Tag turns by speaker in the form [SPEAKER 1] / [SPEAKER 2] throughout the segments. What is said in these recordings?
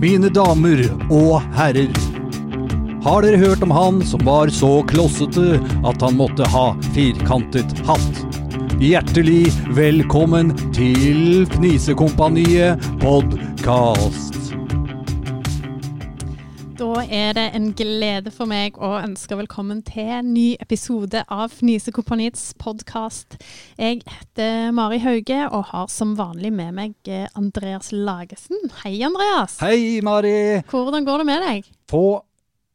[SPEAKER 1] Mine damer og herrer. Har dere hørt om han som var så klossete at han måtte ha firkantet hatt? Hjertelig velkommen til Fnisekompaniet podkast.
[SPEAKER 2] Da er det en glede for meg å ønske velkommen til en ny episode av Fnisekompaniets podkast. Jeg heter Mari Hauge og har som vanlig med meg eh, Andreas Lagesen. Hei, Andreas.
[SPEAKER 1] Hei, Mari!
[SPEAKER 2] Hvordan går det med deg?
[SPEAKER 1] Få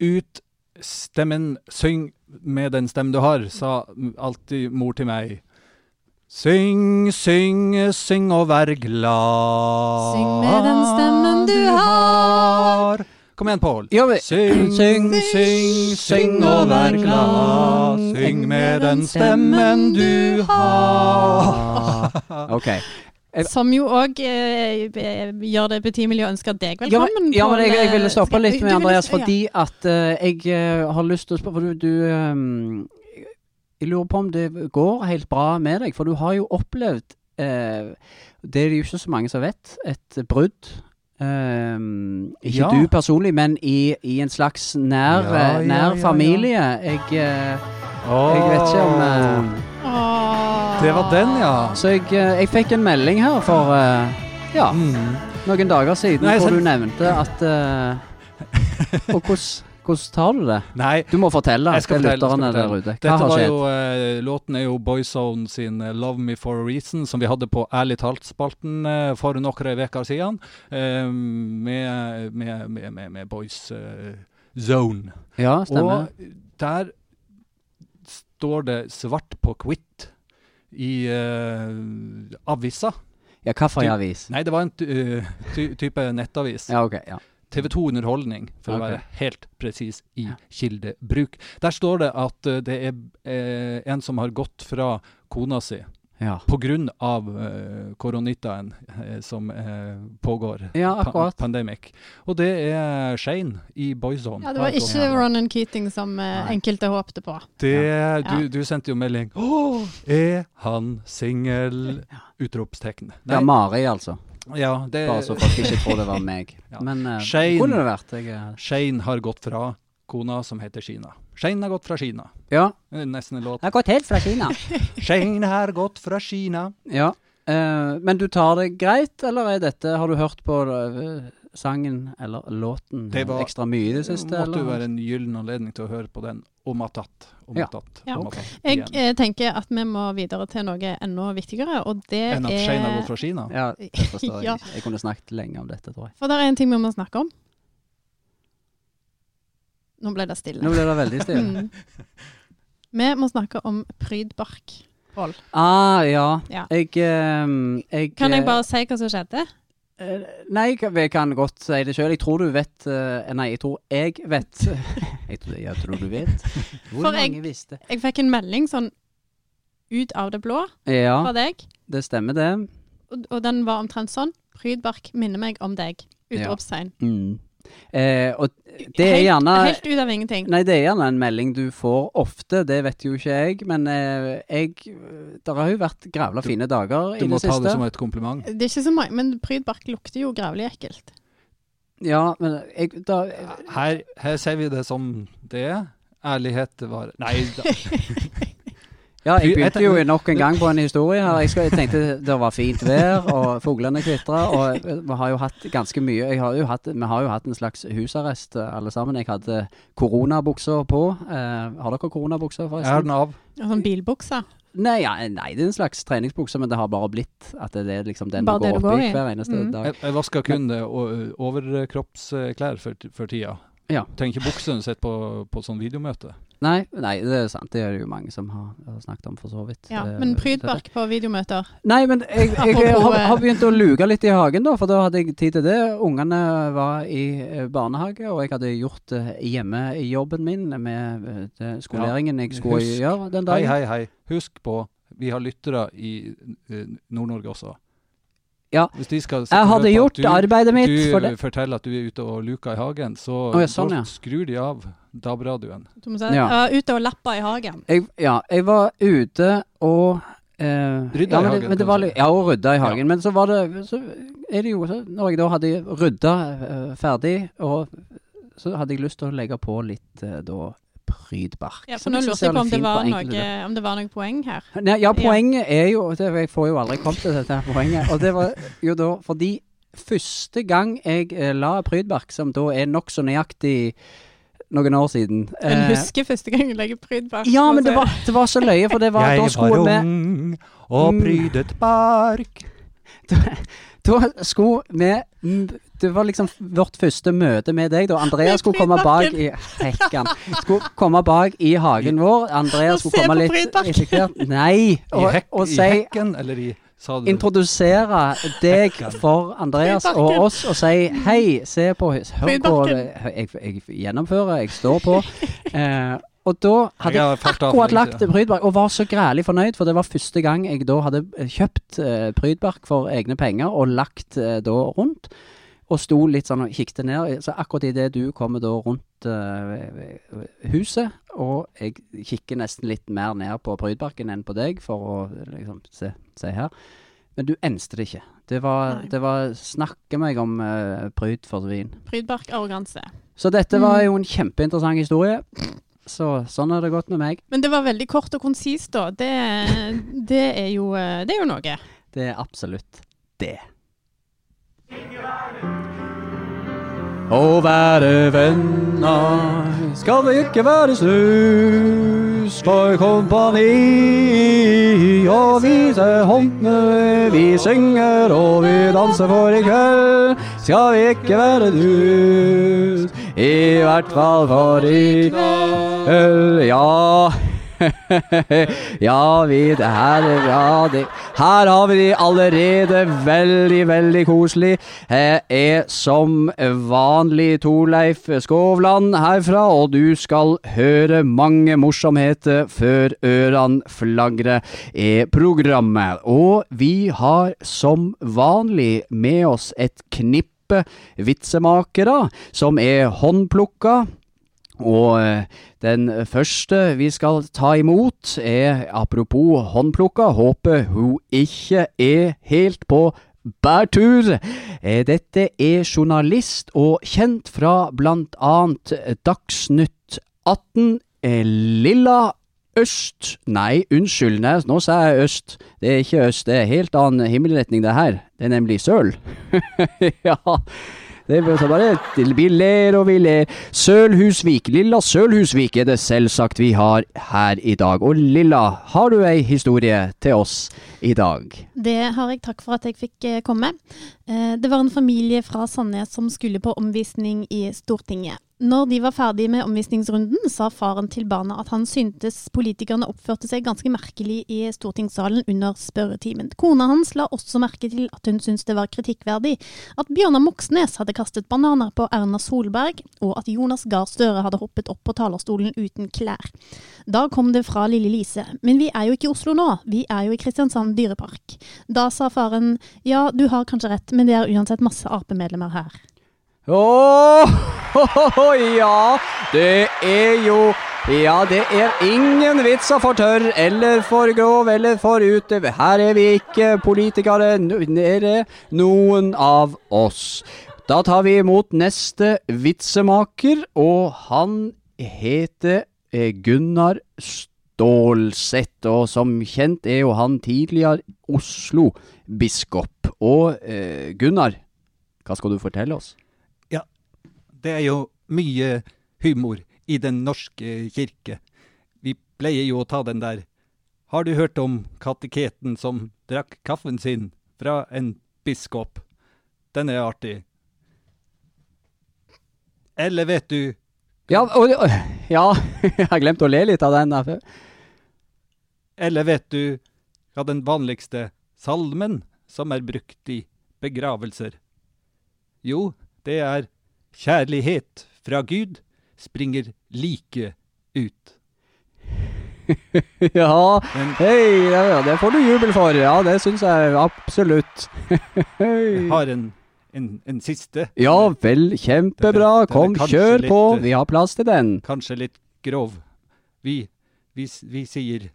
[SPEAKER 1] ut stemmen. Syng med den stemmen du har, sa alltid mor til meg. Syng, syng, syng og vær glad.
[SPEAKER 2] Syng med den stemmen du har.
[SPEAKER 1] Kom igjen, Pål.
[SPEAKER 3] Ja, vi-
[SPEAKER 1] Syng, syng, syng, syng og vær glad. Syng med den stemmen du har.
[SPEAKER 3] OK. Jeg-
[SPEAKER 2] Som jo òg eh, be- gjør det betimelig å ønske deg
[SPEAKER 3] Ja, men,
[SPEAKER 2] velkommen.
[SPEAKER 3] ja, men jeg, jeg ville stoppe
[SPEAKER 2] Pål.
[SPEAKER 3] litt med
[SPEAKER 2] Du ville-
[SPEAKER 3] Andreas,
[SPEAKER 2] ja.
[SPEAKER 3] fordi at eh, jeg eh, har lyst til å spørre For du, du eh, Jeg lurer på om det går helt bra med deg, for du har jo opplevd eh, Det er det jo ikke så mange som vet. Et brudd. Eh, ikke
[SPEAKER 1] Ja.
[SPEAKER 3] du personlig, men i, i en slags nær,
[SPEAKER 1] Ja, ja, ja,
[SPEAKER 3] nær
[SPEAKER 1] ja.
[SPEAKER 3] familie. Jeg, eh, jeg vet ikke om eh,
[SPEAKER 2] Åh.
[SPEAKER 1] Det var den, ja.
[SPEAKER 3] Så jeg, eh, jeg fikk en melding her for eh, ja,
[SPEAKER 1] Mm.
[SPEAKER 3] noen dager siden
[SPEAKER 1] Nei,
[SPEAKER 3] hvor
[SPEAKER 1] selv-
[SPEAKER 3] du nevnte at eh, Og hvordan hvordan tar du det?
[SPEAKER 1] Nei,
[SPEAKER 3] Du må fortelle
[SPEAKER 1] Jeg skal
[SPEAKER 3] til
[SPEAKER 1] fortelle,
[SPEAKER 3] lytterne
[SPEAKER 1] jeg skal
[SPEAKER 3] der ute. Hva
[SPEAKER 1] Dette
[SPEAKER 3] har
[SPEAKER 1] var
[SPEAKER 3] skjedd?
[SPEAKER 1] jo, eh, låten er jo Boyzone sin eh, 'Love Me For A Reason', som vi hadde på Ærlig talt-spalten eh, for noen uker siden, eh, med, med, med, med, med Boys eh, Zone.
[SPEAKER 3] Ja, stemmer.
[SPEAKER 1] Og der står det svart på hvitt i eh, avisa.
[SPEAKER 3] Ja, kaffeavis.
[SPEAKER 1] Nei, det var en ty eh, ty type nettavis.
[SPEAKER 3] Ja, ok. Ja.
[SPEAKER 1] TV 2 Underholdning, for
[SPEAKER 3] Ok.
[SPEAKER 1] å være helt presis i
[SPEAKER 3] Ja.
[SPEAKER 1] kildebruk. Der står det at eh, det er eh, en som har gått fra kona si
[SPEAKER 3] Ja.
[SPEAKER 1] pga. Uh, koronitaen eh, som eh, pågår.
[SPEAKER 3] ja,
[SPEAKER 1] Pa-
[SPEAKER 3] akkurat.
[SPEAKER 1] pandemic. Og det er Shane i Boyzone.
[SPEAKER 2] Ja, det var ikke Ronan Keating som eh,
[SPEAKER 3] Nei.
[SPEAKER 2] enkelte håpte på.
[SPEAKER 1] Det,
[SPEAKER 2] Ja.
[SPEAKER 1] du, du sendte jo melding Åh, er han singel? Utropstegn.
[SPEAKER 3] Ja, Mari, altså.
[SPEAKER 1] Ja, det
[SPEAKER 3] Bare så folk ikke tror det var meg.
[SPEAKER 1] Ja.
[SPEAKER 3] Men eh,
[SPEAKER 1] Shane.
[SPEAKER 3] kunne det vært. Jeg, eh,
[SPEAKER 1] Shane har gått fra kona som heter Kina. Shane har gått fra Kina.
[SPEAKER 3] ja.
[SPEAKER 1] Det er Nesten en låt.
[SPEAKER 3] Jeg har gått helt fra Kina.
[SPEAKER 1] Shane har gått fra Kina.
[SPEAKER 3] ja. Eh, men du tar det greit, eller er dette Har du hørt på eh, sangen eller låten
[SPEAKER 1] Det var-
[SPEAKER 3] ekstra mye i det
[SPEAKER 1] Det
[SPEAKER 3] siste?
[SPEAKER 1] måtte jo
[SPEAKER 3] eller?
[SPEAKER 1] være en gyllen anledning til å høre på den om attåt. Om
[SPEAKER 3] Ja.
[SPEAKER 1] attåt.
[SPEAKER 2] Ja.
[SPEAKER 1] om attåt
[SPEAKER 2] Jeg
[SPEAKER 1] igjen.
[SPEAKER 2] eh, tenker at vi må videre til noe enda viktigere, og det
[SPEAKER 1] Enn at Shane har gått
[SPEAKER 2] er
[SPEAKER 1] fra Kina?
[SPEAKER 3] Ja, det forstår jeg.
[SPEAKER 2] Ja.
[SPEAKER 3] ikke. Jeg kunne snakket lenge om dette, tror jeg.
[SPEAKER 2] For det er en ting vi må snakke om. Nå ble det
[SPEAKER 3] Nå
[SPEAKER 2] stille.
[SPEAKER 3] ble det veldig stille.
[SPEAKER 2] Mm. Vi må snakke om prydbark.
[SPEAKER 3] Ah, ja.
[SPEAKER 2] Ja.
[SPEAKER 3] Jeg, ehm, jeg
[SPEAKER 2] Kan jeg
[SPEAKER 3] eh,
[SPEAKER 2] bare si hva som skjedde?
[SPEAKER 3] Eh, Nei, jeg kan- jeg kan godt si det sjøl. Jeg tror du vet eh, Nei, jeg tror jeg vet Jeg tror, jeg tror du vet. Hvor
[SPEAKER 2] For jeg-
[SPEAKER 3] mange visste?
[SPEAKER 2] Jeg fikk en melding sånn ut av det blå fra
[SPEAKER 3] Ja,
[SPEAKER 2] deg,
[SPEAKER 3] det stemmer, det.
[SPEAKER 2] og, og den var omtrent sånn. Prydbark minner meg om deg. Utropstegn.
[SPEAKER 3] Mm. Eh, og det er gjerne
[SPEAKER 2] Helt, helt ut av ingenting.
[SPEAKER 3] Nei, det er gjerne en melding du får ofte, det vet jo ikke jeg. Men eh, jeg Det har jo vært grævla
[SPEAKER 1] Du-
[SPEAKER 3] fine dager
[SPEAKER 1] Du
[SPEAKER 3] i
[SPEAKER 1] må
[SPEAKER 3] det
[SPEAKER 1] ta det
[SPEAKER 3] siste.
[SPEAKER 1] som et kompliment.
[SPEAKER 2] Det er ikke så mange, men prydbark lukter jo gravelig ekkelt.
[SPEAKER 3] Ja, men jeg da,
[SPEAKER 1] Her, her ser vi det som det er. Ærlighet var Nei da.
[SPEAKER 3] Ja,
[SPEAKER 1] Fy- jeg
[SPEAKER 3] jeg begynte
[SPEAKER 1] tenker-
[SPEAKER 3] jo nok en gang på en historie her. Jeg, skal, jeg tenkte det var fint vær, og fuglene kvitra, og eh, vi har jo hatt ganske mye jeg har jo hatt, Vi har jo hatt en slags husarrest eh, alle sammen. Jeg hadde koronabuksa på. Eh, har dere koronabukser,
[SPEAKER 1] Jeg har
[SPEAKER 3] forresten?
[SPEAKER 1] den av.
[SPEAKER 2] Og Sånn bilbukse.
[SPEAKER 3] Nei, ja, nei, det er en slags treningsbukse, men det har bare blitt at det er liksom den
[SPEAKER 2] Bare
[SPEAKER 3] du
[SPEAKER 2] det
[SPEAKER 3] går
[SPEAKER 2] du
[SPEAKER 3] opp
[SPEAKER 2] går
[SPEAKER 3] i
[SPEAKER 2] i.
[SPEAKER 3] hver eneste
[SPEAKER 2] Mm.
[SPEAKER 3] dag.
[SPEAKER 1] Jeg, jeg vasker kun det o- overkroppsklær for, for tida.
[SPEAKER 3] Ja.
[SPEAKER 1] Trenger ikke bukse når du sitter på, på sånn videomøte.
[SPEAKER 3] Nei, nei, det er sant. Det er det jo mange som har, har snakket om, for så vidt.
[SPEAKER 2] Ja,
[SPEAKER 3] Eh,
[SPEAKER 2] men
[SPEAKER 3] dette.
[SPEAKER 2] prydbark på videomøter.
[SPEAKER 3] Nei, men jeg, jeg,
[SPEAKER 2] Apropos,
[SPEAKER 3] har,
[SPEAKER 2] eh,
[SPEAKER 3] har begynt å luke litt i hagen, da, for da hadde jeg tid til det. Ungene var i eh, barnehage, og jeg hadde gjort eh, hjemmejobben min med eh, det- skoleringen jeg skulle
[SPEAKER 1] husk.
[SPEAKER 3] gjøre den
[SPEAKER 1] Hei,
[SPEAKER 3] dagen.
[SPEAKER 1] hei, hei. Husk på, vi har lyttere i eh, Nord-Norge også.
[SPEAKER 3] Ja.
[SPEAKER 1] Hvis de skal
[SPEAKER 3] Jeg hadde gjort
[SPEAKER 1] du,
[SPEAKER 3] arbeidet mitt
[SPEAKER 1] Du eh,
[SPEAKER 3] for det.
[SPEAKER 1] forteller at du er ute og luker i hagen, så
[SPEAKER 3] Å, ja, sånn,
[SPEAKER 1] da
[SPEAKER 3] ja.
[SPEAKER 1] skrur de av DAB-radioen.
[SPEAKER 2] Du må si,
[SPEAKER 3] Ja.
[SPEAKER 2] ja. ute og lappa i hagen.
[SPEAKER 3] Jeg, ja, jeg var ute og
[SPEAKER 4] Rydda
[SPEAKER 3] eh, ja,
[SPEAKER 4] i
[SPEAKER 3] men det-
[SPEAKER 4] hagen,
[SPEAKER 3] Men det
[SPEAKER 4] kan
[SPEAKER 3] var,
[SPEAKER 4] du si.
[SPEAKER 3] litt- ja, og rydda i hagen. Men så var det Så er det jo så Når jeg da hadde rydda eh, ferdig, og så hadde jeg lyst til å legge på litt eh, da prydbark.
[SPEAKER 2] Ja, for
[SPEAKER 3] som
[SPEAKER 2] nå
[SPEAKER 3] jeg synes
[SPEAKER 2] lurte jeg
[SPEAKER 3] er
[SPEAKER 2] på om
[SPEAKER 3] litt
[SPEAKER 2] det,
[SPEAKER 3] fint på
[SPEAKER 2] var
[SPEAKER 3] enkelte
[SPEAKER 2] noe, om det var noe poeng her.
[SPEAKER 3] Nei, ja,
[SPEAKER 2] Ja.
[SPEAKER 3] poenget er jo det, Jeg får jo aldri kommet til dette her poenget. Og det var jo da fordi første gang jeg eh, la Prydbark, som da er nokså nøyaktig noen år siden
[SPEAKER 2] Men
[SPEAKER 3] eh,
[SPEAKER 2] husker første gang jeg legger pryd bak.
[SPEAKER 3] Ja, men
[SPEAKER 2] altså.
[SPEAKER 3] det var, det var så løye, for det var da skulle vi
[SPEAKER 4] ung og prydet bark.
[SPEAKER 3] Da skulle vi mm, Det var liksom vårt første møte med deg, da. Andrea
[SPEAKER 2] Med
[SPEAKER 3] skulle komme bak i Hekkan. Skulle komme bak i hagen vår. Andrea
[SPEAKER 2] Og
[SPEAKER 3] skulle
[SPEAKER 2] se
[SPEAKER 3] komme
[SPEAKER 2] på
[SPEAKER 3] litt
[SPEAKER 2] Prydbark.
[SPEAKER 3] irritert. Nei!
[SPEAKER 4] I,
[SPEAKER 3] Og,
[SPEAKER 4] hekk,
[SPEAKER 3] og
[SPEAKER 4] I
[SPEAKER 3] si
[SPEAKER 4] hekken, eller i sa du?
[SPEAKER 3] introdusere deg for Andreas og
[SPEAKER 2] Prydbarken.
[SPEAKER 3] oss og si hei, se på hus, hør på
[SPEAKER 2] Prydbarken.
[SPEAKER 3] jeg, jeg gjennomfører, jeg står på. Eh, og da hadde
[SPEAKER 4] Jeg har
[SPEAKER 3] jeg
[SPEAKER 4] falt av for
[SPEAKER 3] akkurat
[SPEAKER 4] lenge
[SPEAKER 3] lagt
[SPEAKER 4] siden.
[SPEAKER 3] Prydbark og var så grælig fornøyd, for det var første gang jeg da hadde kjøpt eh, Prydbark for egne penger og lagt eh, da rundt. Og sto litt sånn og kikket ned. Så akkurat idet du kommer da rundt eh, huset, og jeg kikker nesten litt mer ned på Prydbarken enn på deg for å liksom se, se her. Men du enste det ikke. Det var,
[SPEAKER 2] Nei.
[SPEAKER 3] det var snakke meg om eh, pryd for svin.
[SPEAKER 2] Prydbark arroganse.
[SPEAKER 3] Så dette var jo en kjempeinteressant historie. Så sånn har det gått med meg.
[SPEAKER 2] Men det var veldig kort og konsist, da. Det, det, er jo, eh, det er jo noe.
[SPEAKER 3] Det er absolutt det. Å være venner skal ikke være snus for kompani. Og vise håndene, vi synger og vi danser for i kveld. Skal vi ikke være dus, i hvert fall for i kveld. Ja. ja, vi det her, er- ja, det, her har vi de allerede veldig, veldig koselig. Her er som vanlig Torleif Skovland herfra, og du skal høre mange morsomheter før ørene flagrer i programmet. Og vi har som vanlig med oss et knippe vitsemakere som er håndplukka. Og eh, den første vi skal ta imot er, apropos håndplukka, håper hun ikke er helt på bærtur. Eh, Dette er journalist og kjent fra blant annet Dagsnytt 18, eh, Lilla Øst Nei, unnskyld, nei, nå sa jeg øst. Det er ikke øst, det er helt annen himmelretning det her. Det er nemlig søl. ja, det er så bare Vi ler og vi ler. Sølhusvik, Lilla Sølhusvik er det selvsagt vi har her i dag. Og Lilla, har du ei historie til oss i dag?
[SPEAKER 2] Det har jeg. Takk for at jeg fikk eh, komme. Eh, Det var en familie fra Sandnes som skulle på omvisning i Stortinget. Når de var ferdig med omvisningsrunden, sa faren til barna at han syntes politikerne oppførte seg ganske merkelig i stortingssalen under spørretimen. Kona hans la også merke til at hun syntes det var kritikkverdig at Bjørnar Moxnes hadde kastet bananer på Erna Solberg, og at Jonas Gahr Støre hadde hoppet opp på talerstolen uten klær. Da kom det fra lille Lise. Men vi er jo ikke i Oslo nå, vi er jo i Kristiansand dyrepark. Da sa faren ja, du har kanskje rett, men det er uansett masse Ap-medlemmer her.
[SPEAKER 3] Åh, ja, det er jo Ja, det er ingen vitser for tørr eller for grov eller for ute. Her er vi ikke politikere n- nede, noen av oss. Da tar vi imot neste vitsemaker, og han heter eh, Gunnar Stålsett. Og som kjent er jo han tidligere Oslo-biskop. Og eh, Gunnar, hva skal du fortelle oss?
[SPEAKER 1] Det er jo mye humor i Den norske kirke. Vi pleier jo å ta den der. Har du hørt om kateketen som drakk kaffen sin fra en biskop? Den er artig. Eller vet du
[SPEAKER 3] Ja, og, og- ja, jeg har glemt å le litt av den. der før.
[SPEAKER 1] Eller vet du hva den vanligste salmen som er brukt i begravelser? Jo, det er Kjærlighet fra Gud springer like ut.
[SPEAKER 3] Ja,
[SPEAKER 1] Men
[SPEAKER 3] hei, ja, ja, det får du jubel for. Ja, det syns jeg absolutt.
[SPEAKER 1] jeg har en, en, en siste,
[SPEAKER 3] Ja vel, kjempebra.
[SPEAKER 1] Den er- den er
[SPEAKER 3] Kom,
[SPEAKER 1] kanskje
[SPEAKER 3] kjør på.
[SPEAKER 1] litt, eh,
[SPEAKER 3] Vi har plass til den.
[SPEAKER 1] kanskje litt grov. Vi, vi, s- vi sier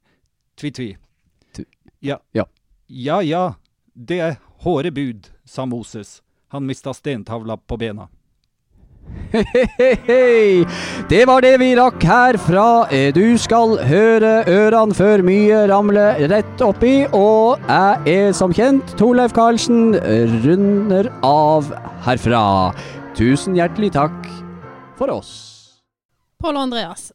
[SPEAKER 1] tvi-tvi.
[SPEAKER 3] Tu-
[SPEAKER 1] Ja ja, det er hårde bud, sa Moses. Han mista stentavla på bena.
[SPEAKER 3] Hei, det var det vi rakk herfra. Eh, Du skal høre ørene før mye ramler rett oppi, og jeg er som kjent Torleif Karlsen, runder av herfra. Tusen hjertelig takk for oss.
[SPEAKER 2] Pål og Andreas.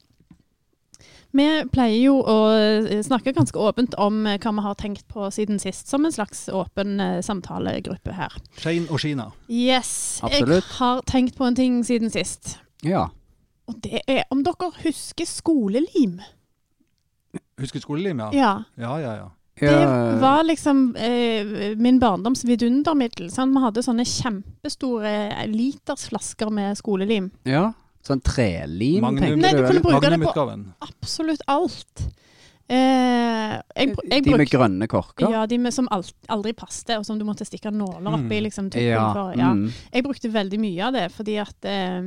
[SPEAKER 2] Vi pleier jo å eh, snakke ganske åpent om eh, hva vi har tenkt på siden sist, som en slags åpen eh, samtalegruppe her.
[SPEAKER 1] Shane og Shina.
[SPEAKER 2] Yes.
[SPEAKER 3] Absolutt.
[SPEAKER 2] Jeg har tenkt på en ting siden sist.
[SPEAKER 3] Ja.
[SPEAKER 2] Og det er om dere husker skolelim.
[SPEAKER 1] Husker skolelim, ja?
[SPEAKER 2] Ja.
[SPEAKER 1] Ja, ja, ja.
[SPEAKER 2] Det var liksom eh, min barndoms vidundermiddel. sant? Vi hadde sånne kjempestore eh, litersflasker med skolelim.
[SPEAKER 3] ja. Sånn trelim,
[SPEAKER 1] Magnum.
[SPEAKER 3] tenker
[SPEAKER 2] Nei, du
[SPEAKER 3] du?
[SPEAKER 2] kunne
[SPEAKER 3] eller?
[SPEAKER 2] bruke det på-
[SPEAKER 1] Magnumutgaven.
[SPEAKER 2] Absolutt alt. Eh, jeg, br- jeg
[SPEAKER 3] De med
[SPEAKER 2] brukte
[SPEAKER 3] grønne korker?
[SPEAKER 2] ja, de med som alt, aldri passte, og som du måtte stikke nåler oppi.
[SPEAKER 1] Mm.
[SPEAKER 2] Liksom, tuppen for, ja.
[SPEAKER 3] mm.
[SPEAKER 2] Jeg brukte veldig mye av det, fordi at eh,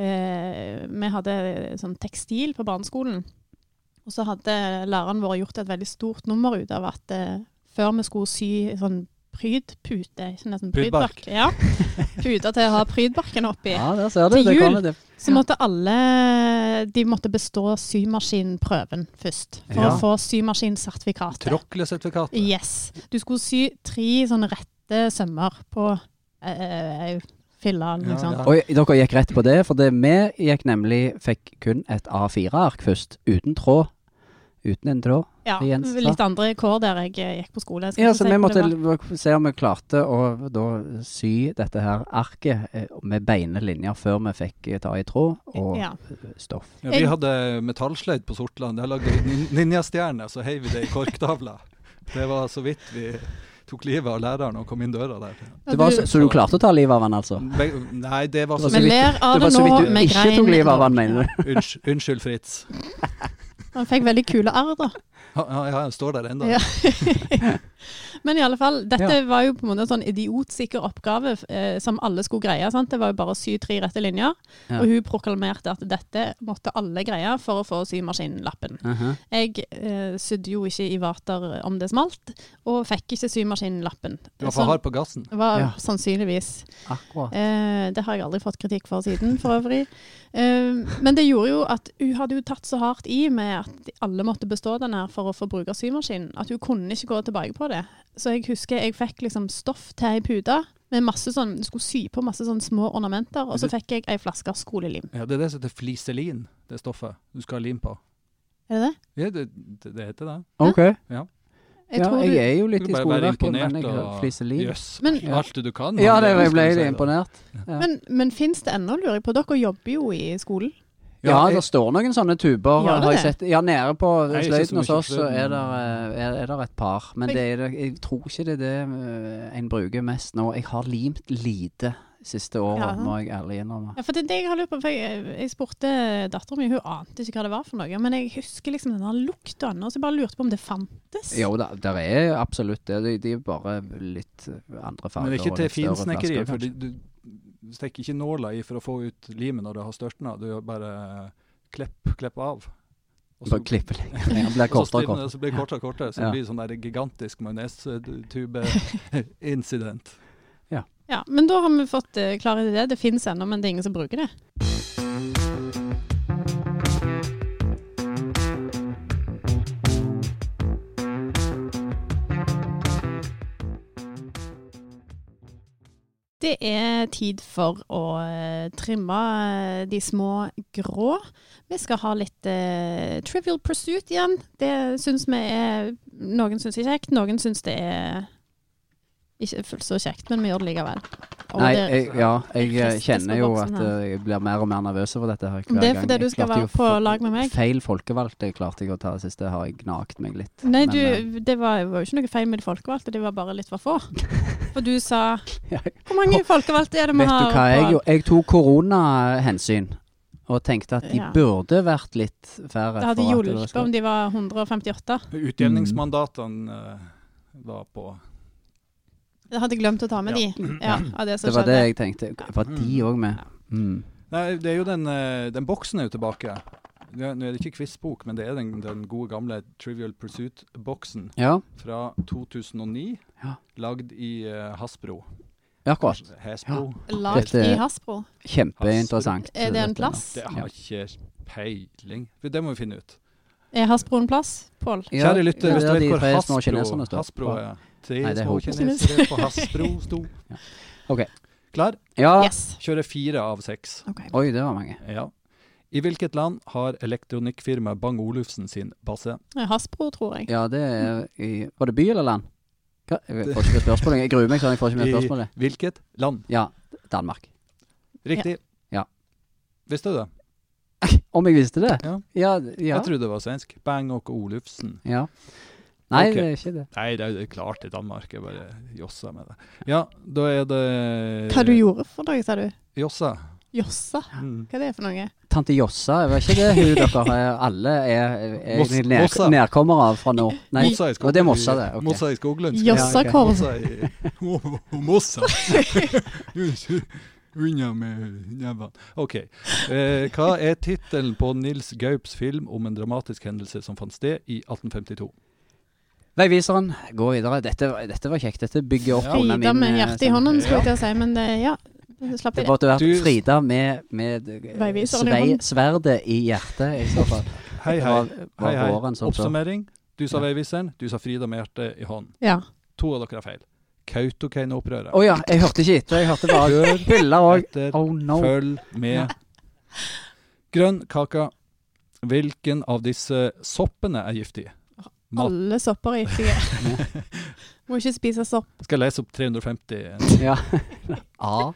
[SPEAKER 2] eh, vi hadde sånn tekstil på barneskolen. Og så hadde læreren vår gjort et veldig stort nummer ut av at eh, før vi skulle sy sånn prydpute, sånn nesten
[SPEAKER 1] Prydbark.
[SPEAKER 2] prydbark, ja. puter til å ha prydbarken oppi,
[SPEAKER 3] ja, der ser du.
[SPEAKER 2] Til
[SPEAKER 3] det
[SPEAKER 2] jul.
[SPEAKER 3] kommer det.
[SPEAKER 2] så måtte alle de måtte bestå symaskinprøven først for
[SPEAKER 3] Ja.
[SPEAKER 2] å få symaskinsertifikatet.
[SPEAKER 1] Tråklesertifikatet.
[SPEAKER 2] Yes. Du skulle sy tre sånne rette sømmer på eh, filla
[SPEAKER 1] Ja,
[SPEAKER 2] eller noe sånt.
[SPEAKER 1] ja.
[SPEAKER 3] Og dere gikk rett på det, for det vi gikk nemlig fikk kun et A4-ark først, uten tråd. Uten en tråd.
[SPEAKER 2] Ja,
[SPEAKER 3] Det gjenstår.
[SPEAKER 2] litt andre kår der jeg eh, gikk på skole. Jeg skal
[SPEAKER 3] Ja,
[SPEAKER 2] ikke
[SPEAKER 3] så
[SPEAKER 2] si
[SPEAKER 3] vi
[SPEAKER 2] hvor det
[SPEAKER 3] måtte
[SPEAKER 2] var.
[SPEAKER 3] l- se om vi klarte å da sy dette her arket eh, med beine linjer før vi fikk eh, ta i tråd og
[SPEAKER 2] ja.
[SPEAKER 3] stoff.
[SPEAKER 1] Ja, vi hadde metallsløyd på Sortland. Jeg lagde nin- ninjastjerne, så heiv vi det i korktavla. Det var så vidt vi tok livet av læreren og kom inn døra der.
[SPEAKER 3] Det var, så, så du klarte å ta livet av han, altså?
[SPEAKER 1] Be- Nei, det var så
[SPEAKER 3] Det var så
[SPEAKER 2] Vi
[SPEAKER 1] vidt.
[SPEAKER 3] vidt-
[SPEAKER 2] ler av
[SPEAKER 3] altså, Det var
[SPEAKER 2] det
[SPEAKER 3] så
[SPEAKER 2] nå,
[SPEAKER 3] vidt du
[SPEAKER 2] med
[SPEAKER 3] ikke tok
[SPEAKER 2] grein.
[SPEAKER 3] livet av han, mener du?
[SPEAKER 1] Unnskyld, unnskyld Fritz.
[SPEAKER 2] Han fikk veldig kule arr, da.
[SPEAKER 1] Han, han, han står der ennå.
[SPEAKER 2] Ja. Men i alle fall, dette
[SPEAKER 3] Ja.
[SPEAKER 2] var jo på en måte en sånn idiotsikker oppgave eh, som alle skulle greie. sant? Det var jo bare å sy tre rette linjer.
[SPEAKER 3] Ja.
[SPEAKER 2] Og hun proklamerte at dette måtte alle greie for å få symaskinlappen.
[SPEAKER 3] Mhm.
[SPEAKER 2] Jeg eh, sydde jo ikke i vater om det smalt, og fikk ikke symaskinlappen.
[SPEAKER 1] Du var for hard på gassen.
[SPEAKER 2] var
[SPEAKER 3] Ja.
[SPEAKER 2] sannsynligvis
[SPEAKER 3] Akkurat.
[SPEAKER 2] Eh, det har jeg aldri fått kritikk for siden, for øvrig. Eh, men det gjorde jo at hun hadde jo tatt så hardt i med at de- alle måtte bestå den her for å få bruke symaskinen, at hun kunne ikke gå tilbake på det. Så jeg husker jeg fikk liksom stoff til ei pute med masse sånn, du skulle sy på masse sånn små ornamenter, og så
[SPEAKER 3] Mm-hmm.
[SPEAKER 2] fikk jeg ei flaske skolelim.
[SPEAKER 1] Ja, det er det som heter fliselin, det stoffet du skal ha lim på.
[SPEAKER 2] Er det det?
[SPEAKER 1] Ja, det, det det heter det.
[SPEAKER 3] Ok.
[SPEAKER 2] Jeg
[SPEAKER 3] Ja,
[SPEAKER 2] tror
[SPEAKER 3] jeg
[SPEAKER 2] du,
[SPEAKER 3] er jo
[SPEAKER 1] Du
[SPEAKER 3] litt i
[SPEAKER 1] kan bare være
[SPEAKER 3] skoleverket, men
[SPEAKER 1] imponert
[SPEAKER 3] jeg har
[SPEAKER 1] og
[SPEAKER 3] fliselin.
[SPEAKER 1] Jøss,
[SPEAKER 2] Men-
[SPEAKER 1] alt det du kan.
[SPEAKER 3] Ja,
[SPEAKER 1] Hanne,
[SPEAKER 3] det, jeg ble
[SPEAKER 1] skal vi si.
[SPEAKER 3] imponert.
[SPEAKER 2] men, men fins det ennå, lurer jeg på? Dere jobber jo i skolen.
[SPEAKER 3] Ja,
[SPEAKER 1] jeg-
[SPEAKER 3] det står noen sånne tuber,
[SPEAKER 2] Gjør det
[SPEAKER 3] har jeg
[SPEAKER 2] det?
[SPEAKER 3] sett. Ja, nede på
[SPEAKER 1] Nei, ikke så
[SPEAKER 3] sløyden
[SPEAKER 1] mye
[SPEAKER 3] hos oss så
[SPEAKER 1] sløyden,
[SPEAKER 3] er
[SPEAKER 1] men-
[SPEAKER 3] det, eh, er, er der et par. Men
[SPEAKER 2] Jeg-
[SPEAKER 3] det er, det- jeg tror ikke det er det eh, en bruker mest nå. Jeg har limt lite siste året,
[SPEAKER 2] Ja.
[SPEAKER 3] må jeg ærlig innrømme.
[SPEAKER 2] Ja, for det er det jeg har lurt på. For jeg, jeg spurte dattera mi, hun ante ikke hva det var for noe. Men jeg husker liksom den der lukta ennå, så jeg bare lurte på om det fantes.
[SPEAKER 3] Jo da, der er absolutt det. De, de er bare litt eh, andre farger.
[SPEAKER 1] Men det er ikke
[SPEAKER 3] og
[SPEAKER 1] til
[SPEAKER 3] litt større
[SPEAKER 1] finsnekkeriet,
[SPEAKER 3] flasker,
[SPEAKER 1] for du, du stikker ikke nåla i for å få ut limet når du har størtna. Du gjør bare klepp, klepp av. Og
[SPEAKER 3] kanskje. Bare klippe lenger. Den blir
[SPEAKER 1] og så
[SPEAKER 3] kortere
[SPEAKER 1] stivner
[SPEAKER 3] og kortere.
[SPEAKER 1] det, så blir det kortere og kortere. Så
[SPEAKER 3] Ja.
[SPEAKER 1] det blir sånn der gigantisk majonestube-incident.
[SPEAKER 2] Ja, men da har vi fått eh, klarhet i det. Det fins ennå, men det er ingen som bruker det. Det er tid for å eh, trimme eh, de små grå. Vi skal ha litt eh, Trivial Pursuit igjen. Det syns vi er Noen syns det er kjekt, noen syns det er ikke fullt så kjekt, men vi gjør det likevel. Og
[SPEAKER 3] Nei,
[SPEAKER 2] det,
[SPEAKER 3] jeg, ja, jeg eh,
[SPEAKER 2] Kristus på
[SPEAKER 3] kjenner jo
[SPEAKER 2] boksen
[SPEAKER 3] at
[SPEAKER 2] her.
[SPEAKER 3] eh, jeg blir mer og mer nervøs over dette her hver gang.
[SPEAKER 2] det er fordi
[SPEAKER 3] Jeg
[SPEAKER 2] du skal
[SPEAKER 3] klarte jo
[SPEAKER 2] være
[SPEAKER 3] å
[SPEAKER 2] på
[SPEAKER 3] få-
[SPEAKER 2] lag med meg.
[SPEAKER 3] Feil folkevalgte klarte jeg å ta det siste, har jeg gnagt meg litt.
[SPEAKER 2] Nei,
[SPEAKER 3] Men, eh,
[SPEAKER 2] du, det var var jo ikke noe feil med de folkevalgte, de var bare litt for få. For du sa
[SPEAKER 3] Ja,
[SPEAKER 2] Hvor mange folkevalgte er det vi
[SPEAKER 3] Vet
[SPEAKER 2] har?
[SPEAKER 3] du hva, jeg,
[SPEAKER 2] på-
[SPEAKER 3] gjorde? jeg tok koronahensyn og tenkte at de
[SPEAKER 2] Ja.
[SPEAKER 3] burde vært litt færre.
[SPEAKER 2] Det hadde
[SPEAKER 3] for at det
[SPEAKER 2] hjulpet
[SPEAKER 3] skal-
[SPEAKER 2] om de var 158.
[SPEAKER 1] Utjevningsmandatene eh, var på
[SPEAKER 2] Jeg hadde glemt å ta med
[SPEAKER 1] Ja.
[SPEAKER 2] de. Ja, av det som
[SPEAKER 3] Det var det
[SPEAKER 2] skjedde.
[SPEAKER 3] jeg tenkte. Var de òg med? Mm.
[SPEAKER 1] Nei, det er jo den, eh, den boksen er jo tilbake. Ja, nå er det ikke quizbok, men det er den, den gode gamle Trivial Pursuit-boksen
[SPEAKER 3] Ja,
[SPEAKER 1] fra 2009,
[SPEAKER 3] Ja.
[SPEAKER 1] lagd i eh, Hasbro.
[SPEAKER 3] akkurat.
[SPEAKER 1] Hasbro.
[SPEAKER 2] Lagd
[SPEAKER 3] Dette-
[SPEAKER 2] i Hasbro.
[SPEAKER 3] Kjempeinteressant.
[SPEAKER 2] Er det en plass?
[SPEAKER 1] Det har ikke peiling. For Det må vi finne ut.
[SPEAKER 2] Er Hasbro en plass, Pål?
[SPEAKER 1] Kjære lytter, hvis du
[SPEAKER 3] det er
[SPEAKER 1] vet
[SPEAKER 3] de
[SPEAKER 1] hvor
[SPEAKER 3] tre små
[SPEAKER 1] Hasbro,
[SPEAKER 3] kineserne står.
[SPEAKER 1] Hasbro er Tre
[SPEAKER 3] Nei, det er
[SPEAKER 1] små
[SPEAKER 3] Hopus.
[SPEAKER 1] kinesere på Hasbro sto.
[SPEAKER 3] Ok.
[SPEAKER 1] Klar?
[SPEAKER 3] Ja.
[SPEAKER 2] Yes.
[SPEAKER 1] Kjører fire av seks.
[SPEAKER 2] Ok.
[SPEAKER 3] Oi, det var mange.
[SPEAKER 1] Ja. I hvilket land har elektronikkfirmaet Bang Olufsen sin base?
[SPEAKER 2] Det er Hasbro, tror jeg.
[SPEAKER 3] Ja, det er i Var det by eller land? Hva? Jeg får ikke med spørsmålet. Jeg gruer meg sånn, jeg får ikke med
[SPEAKER 1] I-
[SPEAKER 3] spørsmålet.
[SPEAKER 1] Hvilket land?
[SPEAKER 3] Ja, Danmark.
[SPEAKER 1] Riktig.
[SPEAKER 3] Ja.
[SPEAKER 1] Visste du det?
[SPEAKER 3] Om jeg visste det?
[SPEAKER 1] Ja.
[SPEAKER 3] Ja. ja.
[SPEAKER 1] Jeg trodde det var svensk. Bang og Olufsen.
[SPEAKER 3] ja. Nei,
[SPEAKER 1] Ok.
[SPEAKER 3] det er ikke det.
[SPEAKER 1] Nei, det er jo klart i Danmark. Jeg bare jossa med det. Ja, da er det
[SPEAKER 2] Hva du gjorde for noe, sa du?
[SPEAKER 1] Jossa.
[SPEAKER 2] Jossa?
[SPEAKER 1] Mm.
[SPEAKER 2] Hva er det for noe?
[SPEAKER 3] Tante Jossa, var ikke det hun dere er- alle er, er
[SPEAKER 1] Moss-
[SPEAKER 3] egentlig ned,
[SPEAKER 1] Mossa.
[SPEAKER 3] nærkommere av fra nord? Nei,
[SPEAKER 1] Mossa i
[SPEAKER 3] og det er Mossa, det. ok.
[SPEAKER 1] Mossa i skoglønsk.
[SPEAKER 2] Jossakorv.
[SPEAKER 1] Mossa i Mossa. Unna med nevene. OK. Eh, hva er tittelen på Nils Gaups film om en dramatisk hendelse som fant sted i 1852?
[SPEAKER 3] Veiviseren, gå videre. Dette, var- dette var kjekt. Dette bygger opp under min
[SPEAKER 2] Frida med
[SPEAKER 3] eh,
[SPEAKER 2] hjertet i
[SPEAKER 3] sånn-
[SPEAKER 2] hånden, skulle
[SPEAKER 1] Ja.
[SPEAKER 2] jeg til å si, men det, ja. det Slapp
[SPEAKER 3] Det
[SPEAKER 2] i det.
[SPEAKER 3] måtte vært
[SPEAKER 1] Du-
[SPEAKER 3] Frida med, med eh,
[SPEAKER 2] Veiviseren i
[SPEAKER 3] svei,
[SPEAKER 2] hånden.
[SPEAKER 3] sverdet i hjertet, i så fall.
[SPEAKER 1] Hei,
[SPEAKER 3] Det
[SPEAKER 1] hei.
[SPEAKER 3] var, var
[SPEAKER 1] Hei, hei.
[SPEAKER 3] våren som så.
[SPEAKER 1] Oppsummering. Du sa
[SPEAKER 3] Ja.
[SPEAKER 1] veiviseren, du sa Frida med hjertet i hånden.
[SPEAKER 2] Ja.
[SPEAKER 1] To av dere har feil. Kautokeino-opprøret.
[SPEAKER 3] Å ja, jeg hørte ikke etter. Jeg hørte bare hylla òg.
[SPEAKER 1] Etter
[SPEAKER 3] Oh no.
[SPEAKER 1] Følg med. Grønn kaka. Hvilken av disse soppene er giftig? Mat.
[SPEAKER 2] Alle sopper er giftige. Må ikke spise sopp.
[SPEAKER 1] Skal jeg lese opp 350
[SPEAKER 3] Ja. A.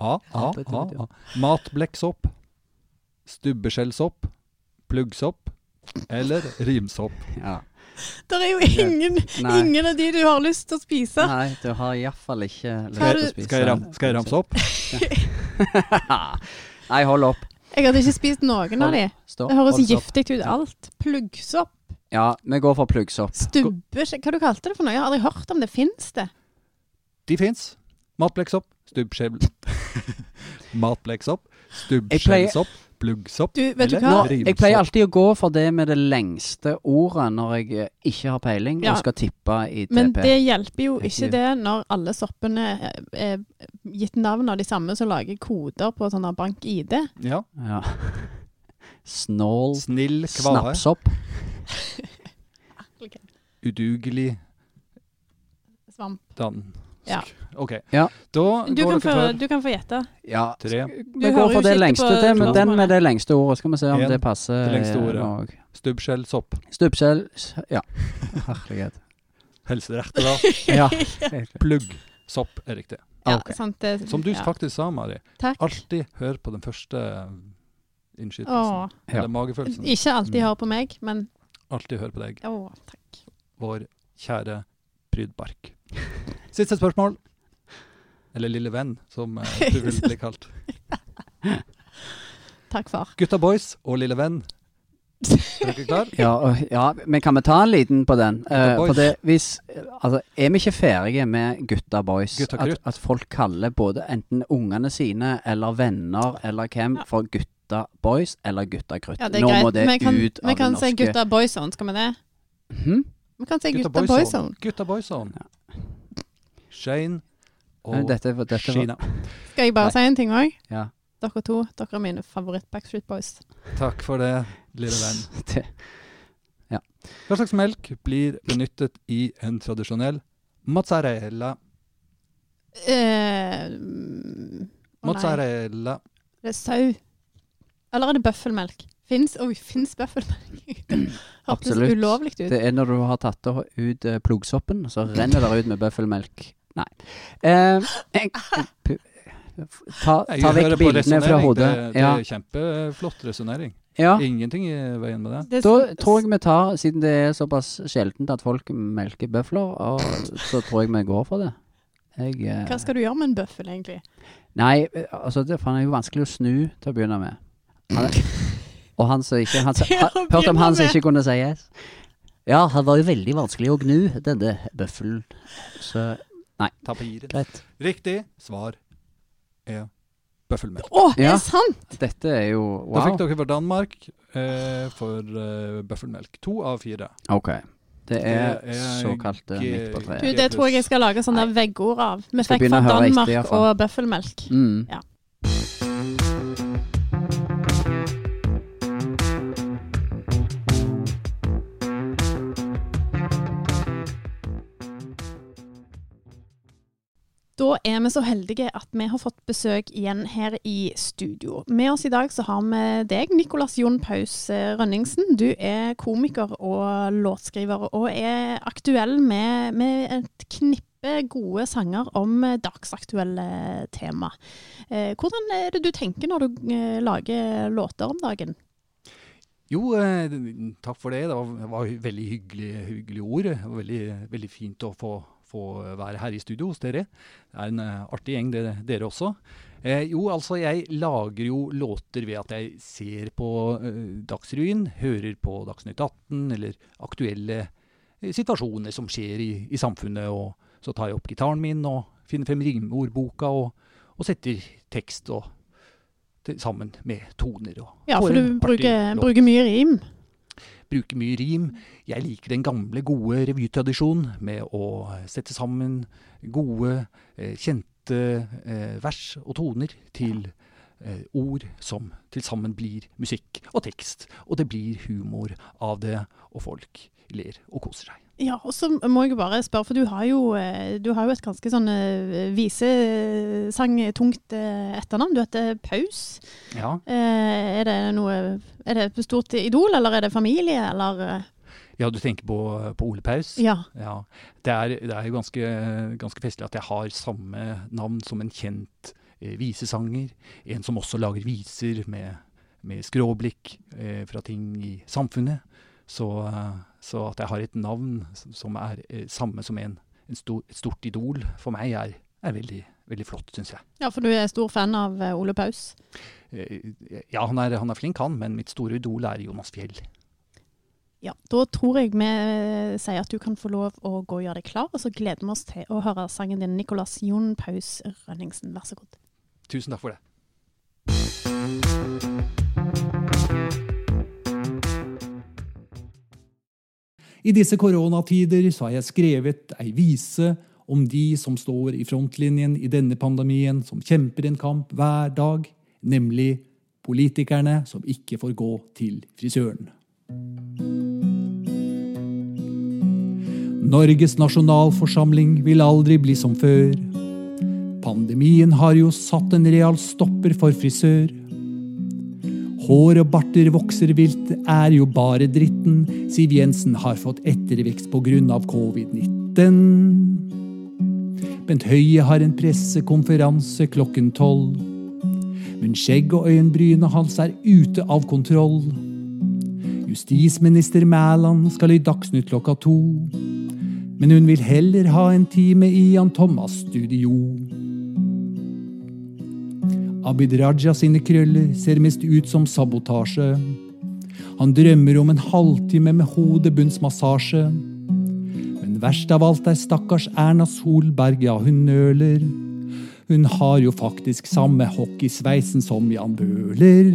[SPEAKER 1] A, A, A,
[SPEAKER 3] det tror jeg.
[SPEAKER 1] A. Matblekksopp. Stubbeskjellsopp. Pluggsopp. Eller rimsopp.
[SPEAKER 3] Ja.
[SPEAKER 2] Det er jo ingen,
[SPEAKER 3] Nei.
[SPEAKER 2] ingen av de du har lyst til å spise.
[SPEAKER 3] Nei, du har iallfall ikke lyst
[SPEAKER 2] Skal
[SPEAKER 3] til å
[SPEAKER 2] du-
[SPEAKER 3] spise
[SPEAKER 1] Skal jeg, ram, skal jeg ramse opp?
[SPEAKER 3] Nei, hold opp.
[SPEAKER 2] Jeg hadde ikke spist noen av de.
[SPEAKER 3] Stopp.
[SPEAKER 2] Det høres
[SPEAKER 3] hold opp.
[SPEAKER 2] giftig ut alt. Pluggsopp,
[SPEAKER 3] Ja, vi går for pluggsopp.
[SPEAKER 2] stubbe Hva du kalte det for noe? Jeg har aldri hørt om det. Fins det?
[SPEAKER 1] De fins. Matblekksopp. Stubbskjell... Matblekksopp.
[SPEAKER 3] pleier-
[SPEAKER 1] Stubbskjellsopp. Pluggsopp.
[SPEAKER 2] Du, vet du
[SPEAKER 1] Eller-
[SPEAKER 2] hva?
[SPEAKER 1] Ja.
[SPEAKER 3] Nå, jeg pleier alltid å gå for det med det lengste ordet når jeg eh, ikke har peiling
[SPEAKER 2] Ja.
[SPEAKER 3] og skal tippe i
[SPEAKER 2] Men
[SPEAKER 3] TP.
[SPEAKER 2] det hjelper jo ikke
[SPEAKER 3] Ikke-
[SPEAKER 2] det når alle soppene er- er gitt navn av de samme som lager koder på sånn bank-ID.
[SPEAKER 1] Ja.
[SPEAKER 3] Ja. Snål
[SPEAKER 1] Snill kvare.
[SPEAKER 3] snapsopp.
[SPEAKER 1] Udugelig
[SPEAKER 2] Svamp.
[SPEAKER 1] dansk.
[SPEAKER 2] Ja.
[SPEAKER 1] OK.
[SPEAKER 3] Ja.
[SPEAKER 1] Da
[SPEAKER 2] Du
[SPEAKER 1] går
[SPEAKER 2] kan,
[SPEAKER 1] dere
[SPEAKER 2] få,
[SPEAKER 1] for
[SPEAKER 2] du kan få gjette.
[SPEAKER 3] Ja.
[SPEAKER 1] tre.
[SPEAKER 3] Vi går
[SPEAKER 2] hører jo
[SPEAKER 3] for det
[SPEAKER 2] ikke
[SPEAKER 3] lengste,
[SPEAKER 2] på
[SPEAKER 3] det, men den med
[SPEAKER 2] spørsmålet.
[SPEAKER 3] det lengste ordet. Skal vi se om
[SPEAKER 1] En,
[SPEAKER 3] det passer.
[SPEAKER 1] det lengste
[SPEAKER 3] eh,
[SPEAKER 1] ordet.
[SPEAKER 3] nå òg.
[SPEAKER 1] Stubbskjellsopp.
[SPEAKER 3] Stubbskjell s- Ja. Herlighet.
[SPEAKER 1] Helserette, da.
[SPEAKER 3] Ja.
[SPEAKER 1] Pluggsopp er riktig.
[SPEAKER 2] Ja,
[SPEAKER 3] Ok.
[SPEAKER 2] sant, det,
[SPEAKER 1] Som du
[SPEAKER 2] ja.
[SPEAKER 1] faktisk sa, Mari.
[SPEAKER 2] Takk.
[SPEAKER 1] Alltid hør på den første eh, innskytelsen.
[SPEAKER 2] Åh.
[SPEAKER 3] Ja.
[SPEAKER 1] Eller magefølelsen.
[SPEAKER 2] Ikke alltid
[SPEAKER 3] Mm.
[SPEAKER 2] hør på meg, men
[SPEAKER 1] Alltid hør på deg,
[SPEAKER 2] å, takk.
[SPEAKER 1] vår kjære Prydbark. Siste spørsmål. Eller lille venn, som eh, du vil bli kalt.
[SPEAKER 2] Takk, far.
[SPEAKER 1] Gutta boys og lille venn. Er dere klar?
[SPEAKER 3] Ja, og, ja, men kan vi ta en liten på den?
[SPEAKER 1] Gutta
[SPEAKER 3] Eh, for
[SPEAKER 1] boys.
[SPEAKER 3] det, hvis, altså, er vi ikke ferdige med gutta boys?
[SPEAKER 1] Gutta
[SPEAKER 3] at,
[SPEAKER 1] krutt.
[SPEAKER 3] at folk kaller både enten ungene sine eller venner eller hvem
[SPEAKER 2] Ja.
[SPEAKER 3] for gutta boys eller gutta krutt.
[SPEAKER 2] Ja, det er
[SPEAKER 3] Nå må
[SPEAKER 2] greit.
[SPEAKER 3] det
[SPEAKER 2] vi kan,
[SPEAKER 3] ut av
[SPEAKER 2] vi kan
[SPEAKER 3] det
[SPEAKER 2] si
[SPEAKER 3] norske.
[SPEAKER 2] gutta boyzone, skal vi det?
[SPEAKER 3] Mhm.
[SPEAKER 2] Vi kan si
[SPEAKER 1] Gutta
[SPEAKER 2] gutta boyzone.
[SPEAKER 1] Gutta boyzone. Shane
[SPEAKER 3] Nei,
[SPEAKER 1] og
[SPEAKER 3] Dette, var- dette var-
[SPEAKER 1] Sheena.
[SPEAKER 2] Skal jeg bare si en ting òg?
[SPEAKER 3] Ja.
[SPEAKER 2] Dere to, dere er mine favoritt-Backstreet Boys. Eh,
[SPEAKER 1] Takk for det, lille venn.
[SPEAKER 3] Det-
[SPEAKER 1] Hva slags melk blir benyttet i en tradisjonell mozzarella?
[SPEAKER 2] Eh, mm, å nei.
[SPEAKER 1] Mozzarella.
[SPEAKER 2] Det er sau. Eller er det bøffelmelk? Fins oi, fins bøffelmelk? Det Hørtes
[SPEAKER 3] Absolutt.
[SPEAKER 2] ulovlig ut.
[SPEAKER 3] Det er når du har tatt av- ut eh, pluggsoppen, så renner det ut med bøffelmelk. Nei. Eh, jeg- pu- ta,
[SPEAKER 1] Jeg
[SPEAKER 3] ta vekk
[SPEAKER 1] hører på
[SPEAKER 3] bildene fra
[SPEAKER 1] resonering.
[SPEAKER 3] hodet.
[SPEAKER 1] Det, det
[SPEAKER 3] Ja.
[SPEAKER 1] er kjempeflott resonnering.
[SPEAKER 3] ja.
[SPEAKER 1] Ingenting i veien med det.
[SPEAKER 2] Det
[SPEAKER 3] Da tror jeg vi tar, siden det er såpass sjeldent at folk melker bøfler, og, så tror jeg vi går for det. Jeg, eh,
[SPEAKER 2] Hva skal du gjøre med en bøffel, egentlig?
[SPEAKER 3] Nei, eh, altså, det, for han er jo vanskelig å snu til å begynne med. Han, og han som ikke han, som-
[SPEAKER 2] Til å
[SPEAKER 3] ha- Hørt om
[SPEAKER 2] begynne
[SPEAKER 3] han som
[SPEAKER 2] med.
[SPEAKER 3] ikke kunne si yes. Ja, han var jo veldig vanskelig å gnu, denne bøffelen. Så
[SPEAKER 1] Tapiren.
[SPEAKER 3] greit.
[SPEAKER 1] Riktig svar er bøffelmel.
[SPEAKER 2] Å, er
[SPEAKER 3] Ja.
[SPEAKER 2] det sant?
[SPEAKER 3] Dette er jo
[SPEAKER 1] Da fikk
[SPEAKER 3] wow.
[SPEAKER 1] dere for Danmark eh, for eh, bøffelmelk. To av fire.
[SPEAKER 3] OK. Det er
[SPEAKER 1] Det er
[SPEAKER 3] såkalt eh,
[SPEAKER 1] G-
[SPEAKER 3] midt på
[SPEAKER 2] Du,
[SPEAKER 3] treet.
[SPEAKER 2] det tror jeg jeg skal lage sånne veggord av. Vi
[SPEAKER 3] Skal
[SPEAKER 2] fikk
[SPEAKER 3] begynne
[SPEAKER 2] fra
[SPEAKER 3] å høre riktig,
[SPEAKER 2] Danmark
[SPEAKER 3] i hvert fall.
[SPEAKER 2] og bøffelmelk.
[SPEAKER 3] Mm.
[SPEAKER 2] Da er vi så heldige at vi har fått besøk igjen her i studio. Med oss i dag så har vi deg, Nikolas Jon Paus eh, Rønningsen. Du er komiker og låtskriver, og er aktuell med, med et knippe gode sanger om eh, dagsaktuelle tema. Eh, Hvordan er det du tenker når du eh, lager låter om dagen?
[SPEAKER 1] Jo, eh, takk for det. Det var, det var veldig hyggelige, hyggelige ord. Det var Veldig, veldig fint å få, få være her i studio hos dere. Det er en eh, artig gjeng, dere, dere også. Eh, jo, altså jeg lager jo låter ved at jeg ser på eh, Dagsrevyen, hører på Dagsnytt 18 eller aktuelle eh, situasjoner som skjer i, i samfunnet. Og så tar jeg opp gitaren min og finner frem rimordboka og, og setter tekst og til, sammen med toner. Og
[SPEAKER 2] Ja,
[SPEAKER 1] får
[SPEAKER 2] for
[SPEAKER 1] en
[SPEAKER 2] du
[SPEAKER 1] artig
[SPEAKER 2] bruker,
[SPEAKER 1] låt
[SPEAKER 2] bruker mye rim.
[SPEAKER 1] bruker mye rim. Jeg liker den gamle, gode revytradisjonen med å eh, sette sammen gode, eh, kjente eh, vers og toner til eh, ord som til sammen blir musikk og tekst. Og det blir humor av det, og folk ler og koser seg.
[SPEAKER 2] Ja, og så må jeg bare spørre, for du har jo, eh, du har jo et ganske sånn eh, visesangtungt eh, etternavn. Du heter Paus.
[SPEAKER 1] Ja,
[SPEAKER 2] Eh, Er det noe Er det et stort idol, eller er det familie, eller eh,
[SPEAKER 1] ja du tenker på, på Ole Paus?
[SPEAKER 2] Ja.
[SPEAKER 1] Ja. Det er, det er jo ganske, ganske festlig at jeg har samme navn som en kjent eh, visesanger. En som også lager viser med, med skråblikk eh, fra ting i samfunnet. Så, eh, så at jeg har et navn s- som er eh, samme som en, en stor, et stort idol for meg, er, er veldig, veldig flott, syns jeg.
[SPEAKER 2] ja, for du er stor fan av eh, Ole Paus.
[SPEAKER 1] Eh, ja, han er, han er flink, han, men mitt store idol er Jonas Fjell.
[SPEAKER 2] Ja, Da tror jeg vi eh, sier at du kan få lov å gå og gjøre deg klar, og så gleder vi oss til å høre sangen din, Nicolas Jon Paus Rønningsen. Vær så god.
[SPEAKER 1] Tusen takk for det.
[SPEAKER 5] I disse koronatider så har jeg skrevet ei vise om de som står i frontlinjen i denne pandemien, som kjemper en kamp hver dag, nemlig politikerne som ikke får gå til frisøren. Norges nasjonalforsamling vil aldri bli som før. Pandemien har jo satt en real stopper for frisør. Hår og barter vokser vilt, er jo bare dritten. Siv Jensen har fått ettervekst pga. covid-19. Bent Høie har en pressekonferanse klokken tolv. Men skjegg og øyenbrynet hans er ute av kontroll. Justisminister Mæland skal i Dagsnytt klokka to. Men hun vil heller ha en time i Jan Thomas' studio. Abid Raja sine krøller ser mest ut som sabotasje. Han drømmer om en halvtime med hodebunnsmassasje. Men verst av alt er stakkars Erna Solberg, ja, hun nøler. Hun har jo faktisk samme hockeysveisen som Jan Bøhler.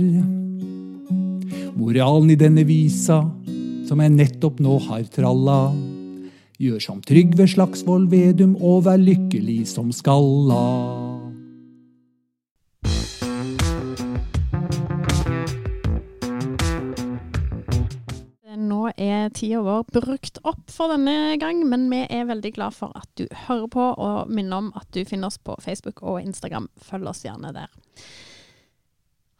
[SPEAKER 5] Moralen i denne visa, som jeg nettopp nå har tralla, gjør som Trygve Slagsvold Vedum og vær lykkelig som skalla.
[SPEAKER 2] Nå er tida vår brukt opp for denne gang, men vi er veldig glad for at du hører på, og minner om at du finner oss på Facebook og Instagram. Følg oss gjerne der.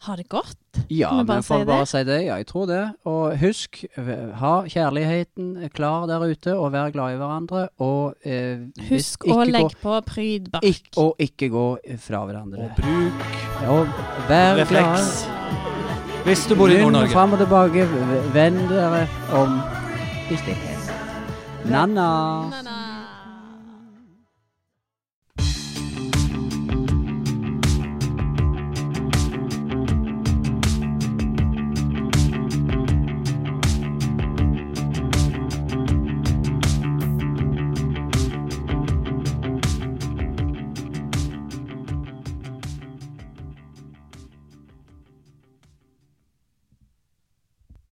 [SPEAKER 2] Ha det godt.
[SPEAKER 3] Ja,
[SPEAKER 2] Kan vi
[SPEAKER 3] vi
[SPEAKER 2] bare
[SPEAKER 3] får
[SPEAKER 2] si
[SPEAKER 3] bare
[SPEAKER 2] det?
[SPEAKER 3] si det. Ja, jeg tror det. Og husk, eh, ha kjærligheten klar der ute, og vær glad i hverandre. Og eh, hvis
[SPEAKER 2] Husk
[SPEAKER 3] ikke
[SPEAKER 2] å
[SPEAKER 3] gå-
[SPEAKER 2] legge på prydbark.
[SPEAKER 3] ikk- Og ikke gå fra hverandre.
[SPEAKER 1] Og bruk
[SPEAKER 3] Og vær glad.
[SPEAKER 1] refleks hvis du bor i Nord-Norge.
[SPEAKER 3] fram og tilbake. v- Vend dere om i stillhet. Na-na.
[SPEAKER 2] Na, na.